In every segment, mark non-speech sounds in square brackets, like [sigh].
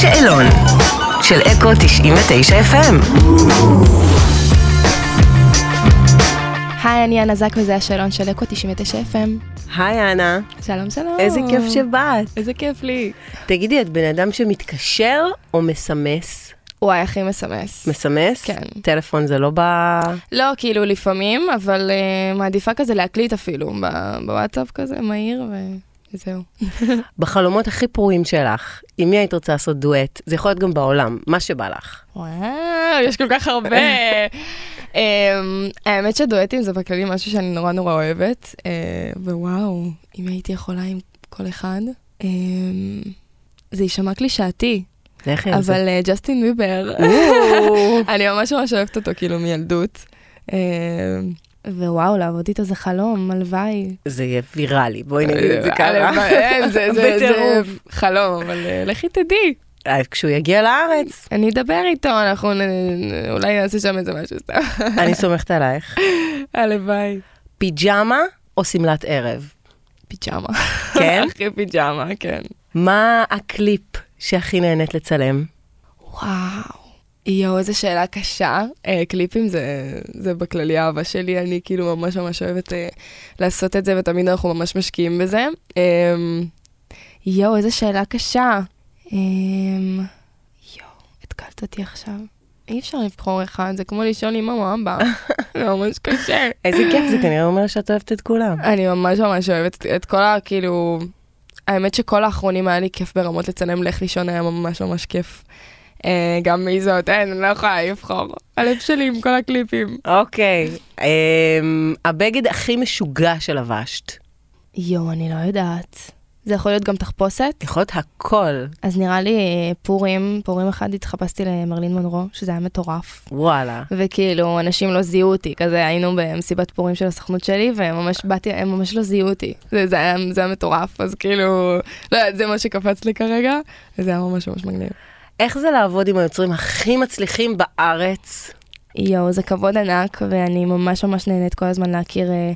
שאלון של אקו 99 FM. היי, אני אנה זק וזה השאלון של אקו 99 FM. היי אנה, שלום, שלום. איזה כיף שבאת. איזה כיף לי. תגידי, את בן אדם שמתקשר או מסמס? וואי, הכי מסמס. מסמס? כן. טלפון זה לא ב... לא, כאילו לפעמים, אבל אה, מעדיפה כזה להקליט אפילו, ב- בוואטסאפ כזה, מהיר, וזהו. בחלומות הכי פרועים שלך, עם מי היית רוצה לעשות דואט? זה יכול להיות גם בעולם, מה שבא לך. וואו, יש כל כך הרבה. [laughs] אמ, האמת שדואטים זה בכללי משהו שאני נורא נורא אוהבת, אה, ווואו, אם הייתי יכולה עם כל אחד. אמ, זה יישמע קלישאתי, לך עם [laughs] זה. אבל אה, ג'סטין ביבר, או, אני ממש ממש אוהבת אותו כאילו מילדות. אמ, ווואו, לעבוד איתו זה חלום, הלוואי. זה יהיה ויראלי, בואי נגיד את זה ככה. אה, הלוואי, אין, זה- זה זה בטירוף. חלום, אבל אה, לכי תדעי. אה, כשהוא יגיע לארץ, אני אדבר איתו, אנחנו נ- נ- אולי נעשה שם איזה משהו סתם. אני סומכת עלייך. הלוואי. פיג'מה או שמלת [laughs] ערב? פיג'מה. כן? [laughs] אחרי פיג'מה, כן. מה הקליפ שהכי נהנית לצלם? וואו. יואו, איזו שאלה קשה. אה, קליפים זה, זה בכללי אהבה שלי, אני כאילו ממש ממש אוהבת אה, לעשות את זה, ותמיד אנחנו ממש משקיעים בזה. אה, יואו, איזו שאלה קשה. אה, יואו, התקלת אותי עכשיו. אי אפשר לבחור אחד, זה כמו לשאול אמא מאמבה. זה ממש קשה. איזה כיף, זה כנראה אומר שאת אוהבת את כולם. אני ממש ממש אוהבת את כל ה... כאילו... האמת שכל האחרונים היה לי כיף ברמות לצלם לך לישון היה ממש ממש כיף. אה, גם מזאת, אין, אני לא יכולה לבחור. הלב שלי עם כל הקליפים. אוקיי. אמ, הבגד הכי משוגע שלבשת. יואו, אני לא יודעת. זה יכול להיות גם תחפושת? יכול להיות הכל. אז נראה לי אה, פורים, פורים אחד התחפשתי למרלין מונרו, שזה היה מטורף. וואלה. וכאילו, אנשים לא זיהו אותי, כזה היינו במסיבת פורים של הסוכנות שלי, והם ממש באתי, הם ממש לא זיהו אותי. זה, זה, היה, זה היה מטורף, אז כאילו, לא יודעת, זה מה שקפץ לי כרגע, וזה היה ממש ממש מגניב. איך זה לעבוד עם היוצרים הכי מצליחים בארץ? יואו, זה כבוד ענק, ואני ממש ממש נהנית כל הזמן להכיר אה,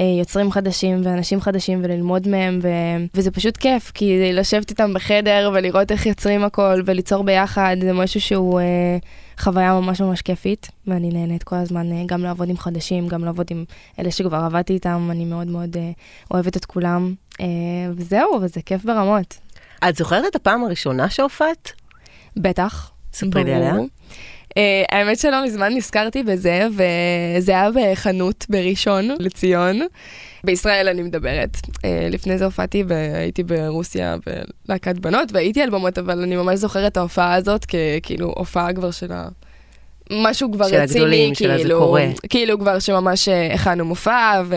אה, יוצרים חדשים ואנשים חדשים וללמוד מהם, ו... וזה פשוט כיף, כי לשבת איתם בחדר ולראות איך יוצרים הכל וליצור ביחד, זה משהו שהוא אה, חוויה ממש ממש כיפית, ואני נהנית כל הזמן אה, גם לעבוד עם חדשים, גם לעבוד עם אלה שכבר עבדתי איתם, אני מאוד מאוד אה, אוהבת את כולם, אה, וזהו, וזה כיף ברמות. את זוכרת את הפעם הראשונה שהופעת? בטח. ספרי לי ברור. עליה. אה, האמת שלא מזמן נזכרתי בזה, וזה היה בחנות בראשון לציון. בישראל אני מדברת. אה, לפני זה הופעתי והייתי ברוסיה בלהקת בנות, והייתי על במות, אבל אני ממש זוכרת את ההופעה הזאת ככאילו הופעה כבר של ה... משהו כבר של רציני, הגדולים, של כאילו, הזה קורה. כאילו כבר שממש אה, הכנו מופע ו...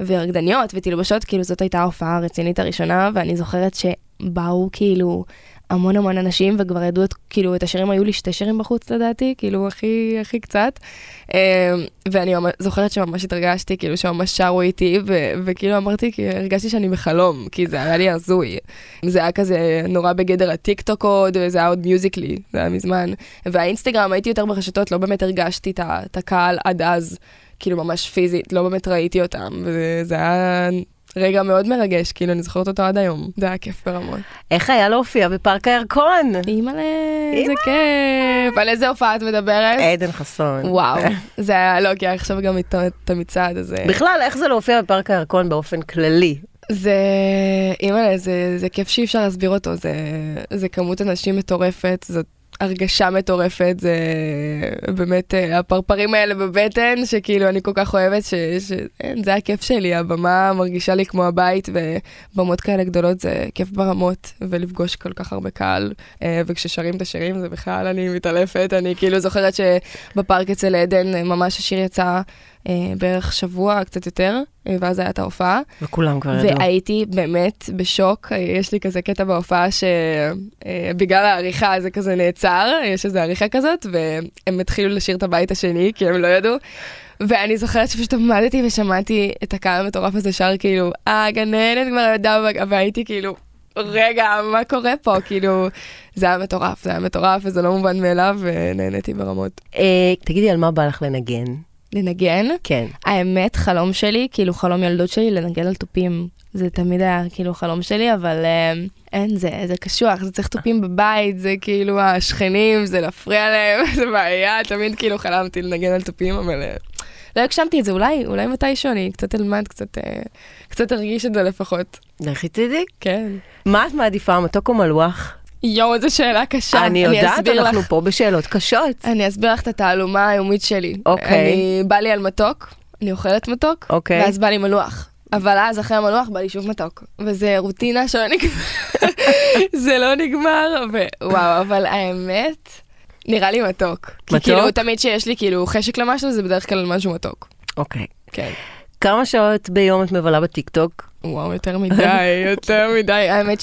ורקדניות ותלבשות, כאילו זאת הייתה ההופעה הרצינית הראשונה, ואני זוכרת שבאו כאילו המון המון אנשים וכבר ידעו את, כאילו, את השירים, היו לי שתי שירים בחוץ לדעתי, כאילו הכי הכי קצת. אמ, ואני ממש- זוכרת שממש התרגשתי, כאילו שממש שרו איתי, ו- וכאילו אמרתי, כי הרגשתי שאני בחלום, כי זה היה לי הזוי. זה היה כזה נורא בגדר הטיקטוק עוד, וזה היה עוד מיוזיקלי, זה היה מזמן. והאינסטגרם, הייתי יותר ברשתות, לא באמת הרגשתי את ה- את הקהל עד אז, כאילו ממש פיזית, לא באמת ראיתי אותם, וזה היה... רגע מאוד מרגש, כאילו, אני זוכרת אותו עד היום. זה היה כיף ברמות. איך היה להופיע בפארק הירקון? אימא'לה, איזה אימא'לה. אה, כיף. על איזה הופעה את מדברת? עדן חסון. וואו, זה היה, לא, כי היה עכשיו גם את את המצעד הזה. בכלל, איך זה להופיע בפארק הירקון באופן כללי? זה, אימא'לה, זה זה כיף שאי אפשר להסביר אותו, זה- זה כמות אנשים מטורפת, זאת הרגשה מטורפת, זה באמת אה, הפרפרים האלה בבטן, שכאילו אני כל כך אוהבת, ש- ש- אין, זה הכיף שלי, הבמה מרגישה לי כמו הבית, ובמות כאלה גדולות זה כיף ברמות, ולפגוש כל כך הרבה קהל, אה, וכששרים את השירים זה בכלל, אני מתעלפת, אני כאילו זוכרת שבפארק אצל עדן, אה, ממש השיר יצא אה, בערך שבוע, קצת יותר, אה, ואז הייתה ההופעה. וכולם כבר ידעו. והייתי באמת בשוק, יש לי כזה קטע בהופעה שבגלל העריכה זה כזה נעצר, יש איזו עריכה כזאת, והם התחילו לשיר את הבית השני, כי הם לא ידעו. ואני זוכרת שפשוט עמדתי ושמעתי את הקהל המטורף הזה שר כאילו, אה, הגננת כבר ידעה, ו- והייתי כאילו, רגע, מה קורה פה? כאילו, זה היה מטורף, זה היה מטורף, וזה לא מובן מאליו, ונהניתי ברמות. אה, תגידי, על מה בא לך לנגן? לנגן? כן. האמת, חלום שלי, כאילו חלום ילדות שלי, לנגן על תופים. זה תמיד היה כאילו חלום שלי, אבל אה, אין זה, זה קשוח, זה צריך תופים בבית, זה כאילו השכנים, זה להפריע להם, [laughs] זה בעיה, תמיד כאילו חלמתי לנגן על תופים, אבל אה, לא הגשמתי את זה, אולי, אולי מתישהו אני קצת אלמד, קצת, אה, קצת ארגיש את זה לפחות. לכי תדעי. כן. מה את מעדיפה, מתוק או מלוח? יואו, איזו שאלה קשה. אני יודעת, אסביר אנחנו לך, פה בשאלות קשות. אני אסביר לך את התעלומה היומית שלי. אוקיי. אני, בא לי על מתוק, אני אוכלת מתוק, אוקיי. ואז בא לי מלוח. אבל אז אחרי המלוח בא לי שוב מתוק, וזה רוטינה שלא [laughs] נגמר, זה לא נגמר, ווואו, אבל האמת, נראה לי מתוק. כי מתוק? כאילו, תמיד שיש לי כאילו חשק למשהו, זה בדרך כלל משהו מתוק. אוקיי. כן. כמה שעות ביום את מבלה בטיקטוק? וואו, יותר [laughs] מדי, יותר מדי. האמת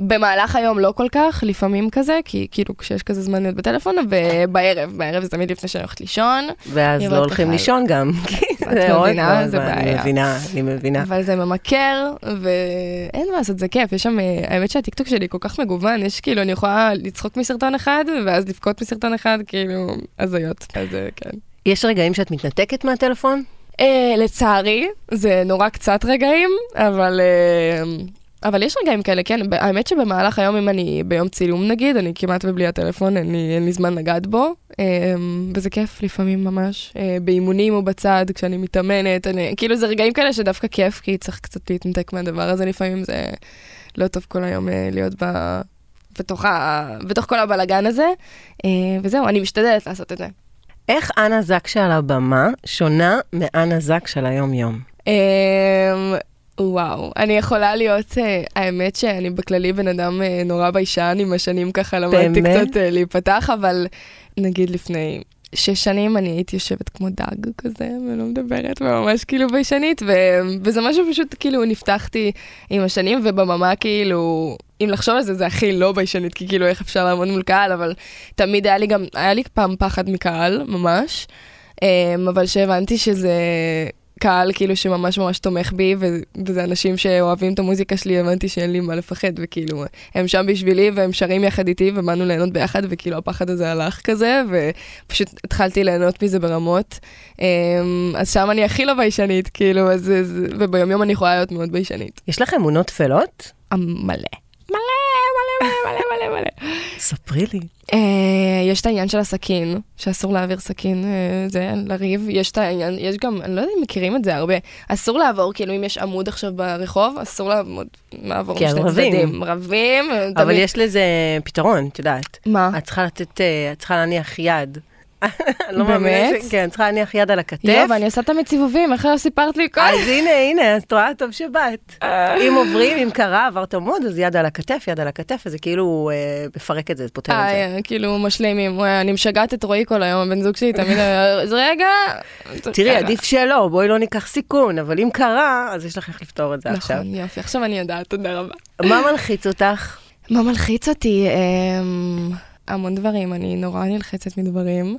שבמהלך היום לא כל כך, לפעמים כזה, כי כאילו כשיש כזה זמן להיות בטלפון, ובערב, בערב זה תמיד לפני שאני הולכת לישון, ואז לראות לא הולכים בכלל. לישון גם. כי את [laughs] זה עוד מבינה? פעם, זה אני בעיה. מבינה, אני מבינה. אבל זה ממכר, ואין מה לעשות, זה כיף. יש שם, אה, האמת שהטיקטוק שלי כל כך מגוון, יש כאילו, אני יכולה לצחוק מסרטון אחד, ואז לבכות מסרטון אחד, כאילו, הזיות. אז אה, כן. יש רגעים שאת מתנתקת מהטלפון? אה, לצערי, זה נורא קצת רגעים, אבל... אה, אבל יש רגעים כאלה, כן, ב- האמת שבמהלך היום, אם אני ביום צילום נגיד, אני כמעט ובלי הטלפון, אין לי, אין לי זמן לגעת בו, אה, וזה כיף לפעמים ממש. אה, באימונים או בצד, כשאני מתאמנת, אני, כאילו זה רגעים כאלה שדווקא כיף, כי צריך קצת להתנתק מהדבר הזה, לפעמים זה לא טוב כל היום אה, להיות ב... בתוך, ה... בתוך כל הבלגן הזה, אה, וזהו, אני משתדלת לעשות את זה. איך אנה זקשה על הבמה שונה מאנה זקשה על היום-יום? אמ, וואו, אני יכולה להיות, אה, האמת שאני בכללי בן אדם אה, נורא ביישן, עם השנים ככה למדתי באמת? קצת אה, להיפתח, אבל נגיד לפני שש שנים אני הייתי יושבת כמו דג כזה, ולא מדברת, וממש כאילו ביישנית, ו... וזה משהו פשוט כאילו נפתחתי עם השנים, ובממה כאילו, אם לחשוב על זה, זה הכי לא ביישנית, כי כאילו איך אפשר לעמוד מול קהל, אבל תמיד היה לי גם, היה לי פעם פחד מקהל, ממש, אמ, אבל שהבנתי שזה קהל כאילו שממש ממש תומך בי, ו- וזה אנשים שאוהבים את המוזיקה שלי, הבנתי שאין לי מה לפחד, וכאילו, הם שם בשבילי, והם שרים יחד איתי, ובאנו ליהנות ביחד, וכאילו הפחד הזה הלך כזה, ופשוט התחלתי ליהנות מזה ברמות. אמ, אז שם אני הכי לא ביישנית, כאילו, אז, אז, וביומיום אני יכולה להיות מאוד ביישנית. אה, יש לך אמונות טפלות? מלא. מלא, מלא, מלא, מלא, מלא. ספרי לי. אה, יש את העניין של הסכין, שאסור להעביר סכין, אה, זה לריב. יש את העניין, יש גם, אני לא יודע אם מכירים את זה הרבה. אסור לעבור, כאילו אם יש עמוד עכשיו ברחוב, אסור לעמוד, לעבור כי אז משני כן, רבים. צדדים. רבים. אה, אבל יש לזה פתרון, את יודעת. מה? את צריכה לתת, אה, את צריכה להניח יד. [laughs] אני לא מאמינה באמת? ש- כן, את צריכה להניח יד על הכתף. יואו, ואני לא, עושה תמיד סיבובים, איך לא סיפרת לי כל... אה. אז הנה, הנה, אז את רואה טוב שבאת. אם עוברים, אם קרה, עברת עמוד, אז יד על הכתף, יד על הכתף, וזה כאילו אה, מפרק את זה, זה פותר את זה. אה, כאילו משלימים, וואי, אני משגעת את רועי כל היום, הבן זוג שלי תמיד אומר, אז רגע... אה, תראי, רגע. עדיף שלא, בואי לא ניקח סיכון, אבל אם קרה, אז יש לך איך לפתור את זה עכשיו. נכון, יופי, עכשיו אני יודעת, תודה רבה. מה מלחיץ אותך? מה מלחיץ אותי? אמ, המון דברים, אני נורא נלחצת מדברים,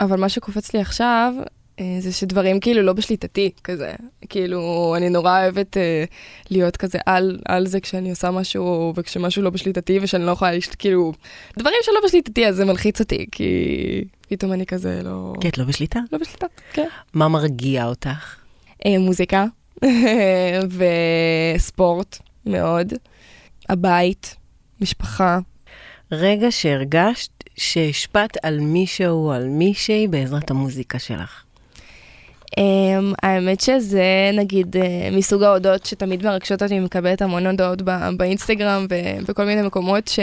אבל מה שקופץ לי עכשיו, אה, זה שדברים כאילו לא בשליטתי, כזה. כאילו, אני נורא אוהבת אה, להיות כזה על, על זה כשאני עושה משהו, וכשמשהו לא בשליטתי, ושאני לא יכולה, לש- כאילו, דברים שלא בשליטתי, אז זה מלחיץ אותי, כי פתאום אני כזה לא... כי את לא בשליטה. לא בשליטה, כן. מה מרגיע אותך? אה, מוזיקה [laughs] וספורט, מאוד. הבית, משפחה. רגע שהרגשת שהשפעת על מישהו או על מישהי בעזרת המוזיקה שלך. Um, האמת שזה נגיד uh, מסוג ההודעות שתמיד מרגשות אותי, אני מקבלת המון הודעות ב- באינסטגרם ו- וכל מיני מקומות ש-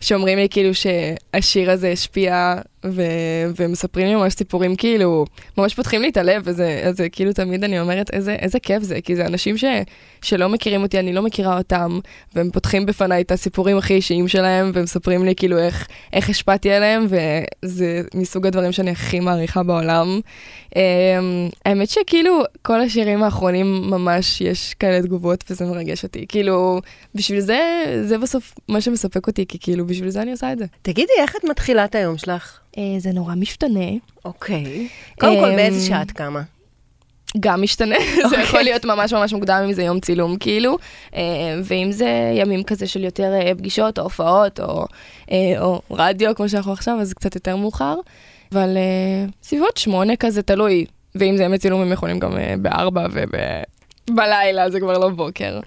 שאומרים לי כאילו שהשיר הזה השפיע ו- ומספרים לי ממש סיפורים כאילו, ממש פותחים לי את הלב וזה אז זה כאילו תמיד אני אומרת איזה, איזה כיף זה, כי זה אנשים ש- שלא מכירים אותי, אני לא מכירה אותם, והם פותחים בפניי את הסיפורים הכי אישיים שלהם ומספרים לי כאילו איך, איך השפעתי עליהם וזה מסוג הדברים שאני הכי מעריכה בעולם. אמ, האמת שכאילו כל השירים האחרונים ממש יש כאלה תגובות וזה מרגש אותי. כאילו, בשביל זה, זה בסוף מה שמספק אותי, כי כאילו בשביל זה אני עושה את זה. תגידי, איך את מתחילה את היום שלך? אה, זה נורא משתנה. אוקיי. קודם כל, אמ, באיזה שעה את קמה? גם משתנה, [laughs] זה אוקיי. יכול להיות ממש ממש מוקדם אם זה יום צילום כאילו, אה, ואם זה ימים כזה של יותר אה, פגישות או הופעות או, אה, או רדיו כמו שאנחנו עכשיו, אז זה קצת יותר מאוחר, אבל אה, סביבות שמונה כזה תלוי, ואם זה ימי צילום הם יכולים גם אה, בארבע וב... בלילה, זה כבר לא בוקר.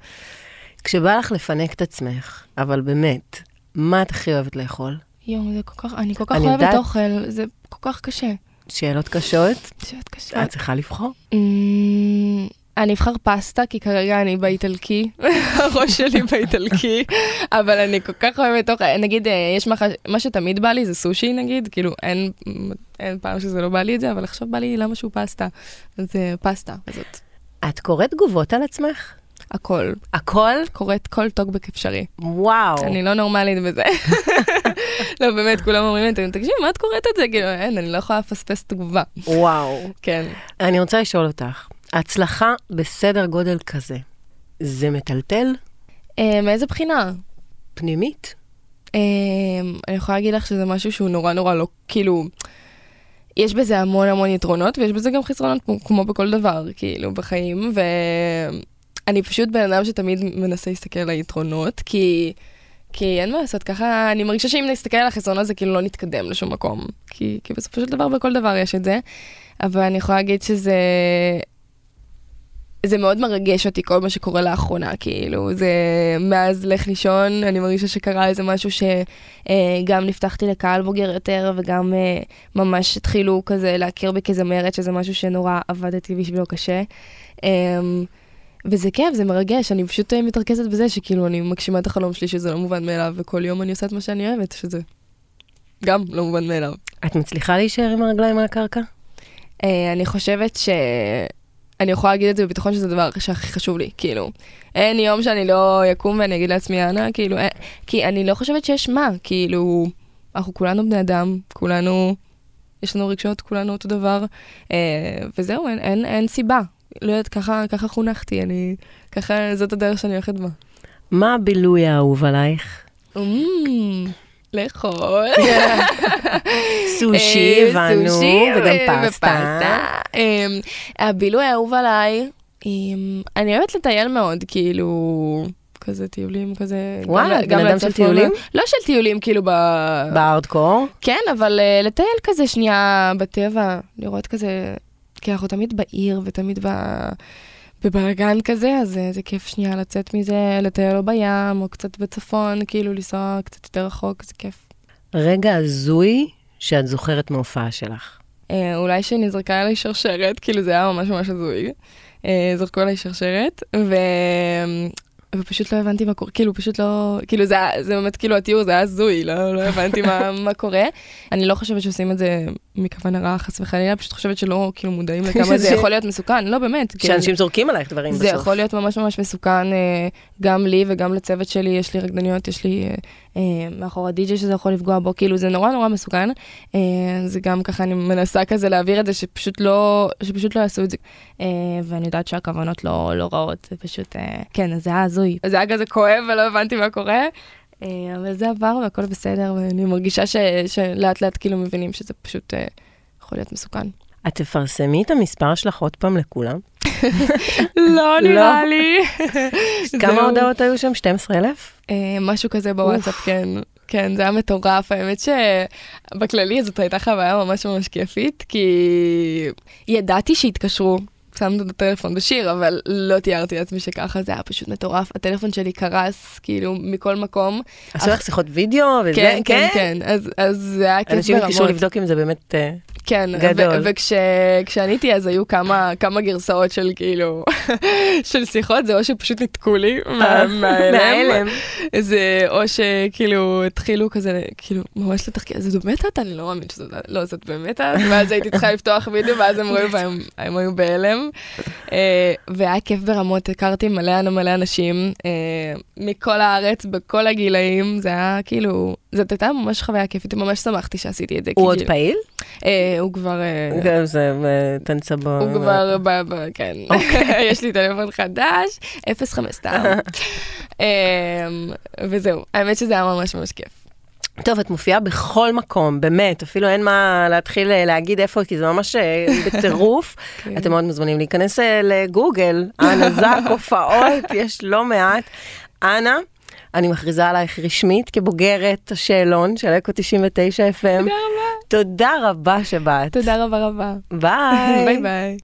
כשבא לך לפנק את עצמך, אבל באמת, מה את הכי אוהבת לאכול? יואו, זה כל כך, אני כל כך אני אוהבת יודעת- אוכל, זה כל כך קשה. שאלות קשות? שאת קשה. את צריכה לבחור. אמ, אני אבחר פסטה, כי כרגע אני באיטלקי, [laughs] הראש שלי באיטלקי, אבל אני כל כך אוהבת אוכל, נגיד, אה, יש מחש... מה שתמיד בא לי זה סושי נגיד, כאילו, אין, אין פעם שזה לא בא לי את זה, אבל עכשיו בא לי למה שהוא פסטה. אז אה, פסטה, זאת את קוראת תגובות על עצמך? הכל, הכל? קוראת כל טוקבק אפשרי. וואו. אני לא נורמלית בזה. [laughs] לא, באמת, כולם אומרים לי, תקשיב, מה את קוראת את זה? כאילו, אין, אני לא יכולה לפספס תגובה. וואו. [laughs] כן. אני רוצה לשאול אותך, הצלחה בסדר גודל כזה, זה מטלטל? אה, מאיזה בחינה? פנימית? אמ, אני יכולה להגיד לך שזה משהו שהוא נורא נורא לא, כאילו, יש בזה המון המון יתרונות, ויש בזה גם חסרונות כמו, כמו בכל דבר, כאילו, בחיים, ואני פשוט בן אדם שתמיד מנסה להסתכל על היתרונות, כי, כי אין מה לעשות, ככה, אני מרגישה שאם נסתכל על החסרונות זה כאילו לא נתקדם לשום מקום, כי, כי בסופו של דבר בכל דבר יש את זה, אבל אני יכולה להגיד שזה... זה מאוד מרגש אותי כל מה שקורה לאחרונה, כאילו, זה מאז לך לישון, אני מרגישה שקרה איזה משהו שגם נפתחתי לקהל בוגר יותר, וגם אה, ממש התחילו כזה להכיר בי כזמרת, שזה משהו שנורא עבדתי בשבילו קשה. אה, וזה כיף, זה מרגש, אני פשוט אה, מתרכזת בזה שכאילו אני מגשימה את החלום שלי שזה לא מובן מאליו, וכל יום אני עושה את מה שאני אוהבת, שזה גם לא מובן מאליו. את מצליחה להישאר עם הרגליים על הקרקע? אה, אני חושבת ש... אני יכולה להגיד את זה בביטחון שזה הדבר שהכי חשוב לי, כאילו. אין יום שאני לא אקום ואני אגיד לעצמי, אנה, כאילו, אה, כי אני לא חושבת שיש מה, כאילו, אנחנו כולנו בני אדם, כולנו, יש לנו רגשות, כולנו אותו דבר, אה, וזהו, אין, אין, אין סיבה. לא יודעת, ככה, ככה חונכתי, אני, ככה, זאת הדרך שאני הולכת בה. מה הבילוי האהוב עלייך? אמ, [laughs] לאכול. כן. סושי, אה, הבנו, סושי וגם ו- פסטה. אה, הבילוי האהוב עליי, אה, אני אוהבת לטייל מאוד, כאילו, כזה טיולים, כזה... גם וואלה, ל- את גם בן אדם של לצפון, טיולים? לא של טיולים, כאילו ב... בארדקור? כן, אבל אה, לטייל כזה שנייה בטבע, לראות כזה, כי אנחנו תמיד בעיר ותמיד ב... בבלאגן כזה, אז אה, זה כיף שנייה לצאת מזה, לטייל או בים, או קצת בצפון, כאילו לנסוע קצת יותר רחוק, זה כיף. רגע הזוי שאת זוכרת מהופעה שלך. אה, אולי שנזרקה עליי שרשרת, כאילו זה היה ממש ממש הזוי. אה, זרקו עליי שרשרת, ו... ופשוט לא הבנתי מה קורה, כאילו פשוט לא, כאילו זה, היה- זה באמת כאילו התיאור זה היה הזוי, לא, לא הבנתי [laughs] מה, מה קורה. אני לא חושבת שעושים את זה מכוונה רעה חס וחלילה, פשוט חושבת שלא כאילו מודעים לכמה זה שזה- יכול להיות מסוכן, לא באמת. כאילו, שאנשים זורקים עלייך דברים זה בסוף. יכול להיות ממש ממש מסוכן אה, גם לי וגם לצוות שלי, יש לי רקדניות, יש לי אה, אה, מאחור הדי-ג'י שזה יכול לפגוע בו, כאילו זה נורא נורא מסוכן. אה, זה גם ככה, אני מנסה כזה להעביר את זה, שפשוט לא, שפשוט לא יעשו את זה. אה, ואני יודעת שהכוונות לא, לא רעות, זה פשוט, אה, כן, אז זה היה הזוי. אז זה היה כזה כואב ולא הבנתי מה קורה. אה, אבל זה עבר והכל בסדר, ואני מרגישה ש- שלאט לאט כאילו מבינים שזה פשוט אה, יכול להיות מסוכן. את תפרסמי את המספר שלך עוד פעם לכולם? לא נראה לי. [laughs] כמה הודעות היו שם? 12,000? אה, משהו כזה בוואטסאפ, כן. כן, זה היה מטורף. האמת שבכללי זאת הייתה חוויה ממש ממש כיפית, כי ידעתי שיתקשרו. שמנו את הטלפון בשיר, אבל לא תיארתי לעצמי שככה, זה היה פשוט מטורף. הטלפון שלי קרס, כאילו, מכל מקום. עשו לך שיחות וידאו וזה? כן, כן, כן. אז, אז זה היה כיף אנשים ברמות. התקשרו לבדוק אם זה באמת... אה, כן, גדול. וכשעניתי אז היו כמה, כמה גרסאות של כאילו, [laughs] של שיחות, זה או שפשוט ניתקו [laughs] לי [laughs] אה, מה- מההלם, זה או שכאילו התחילו כזה, כאילו, ממש לתחקר, זה באמת את? אני לא מאמין שזאת, את." לא, זאת באמת את, ואז הייתי צריכה לפתוח וידאו, ואז הם ראו והם הם היו בהלם. אה, והיה כיף ברמות, הכרתי מלא מלא אנשים אה, מכל הארץ, בכל הגילאים, זה היה כאילו, זאת הייתה ממש חוויה כיפית, ממש שמחתי שעשיתי את זה. כי הוא עוד כאילו- פעיל? אה, הוא כבר... אה, גם זה, אה, תנסה בו. הוא כבר, ב- ב- כן, אוקיי. [laughs] יש לי טלפון חדש, [laughs] 05 סתם. אמ, וזהו, האמת שזה היה ממש ממש כיף. טוב, את מופיעה בכל מקום, באמת, אפילו אין מה להתחיל אה, להגיד איפה, כי זה ממש אה, בטירוף. אתם מאוד מוזמנים להיכנס אה, לגוגל, אנה זק, הופעות, יש לא מעט. אנה, אני מכריזה עלייך רשמית כבוגרת השאלון של אקו 99 FM. תודה רבה. תודה רבה שבאת. תודה רבה רבה. ביי. ביי ביי.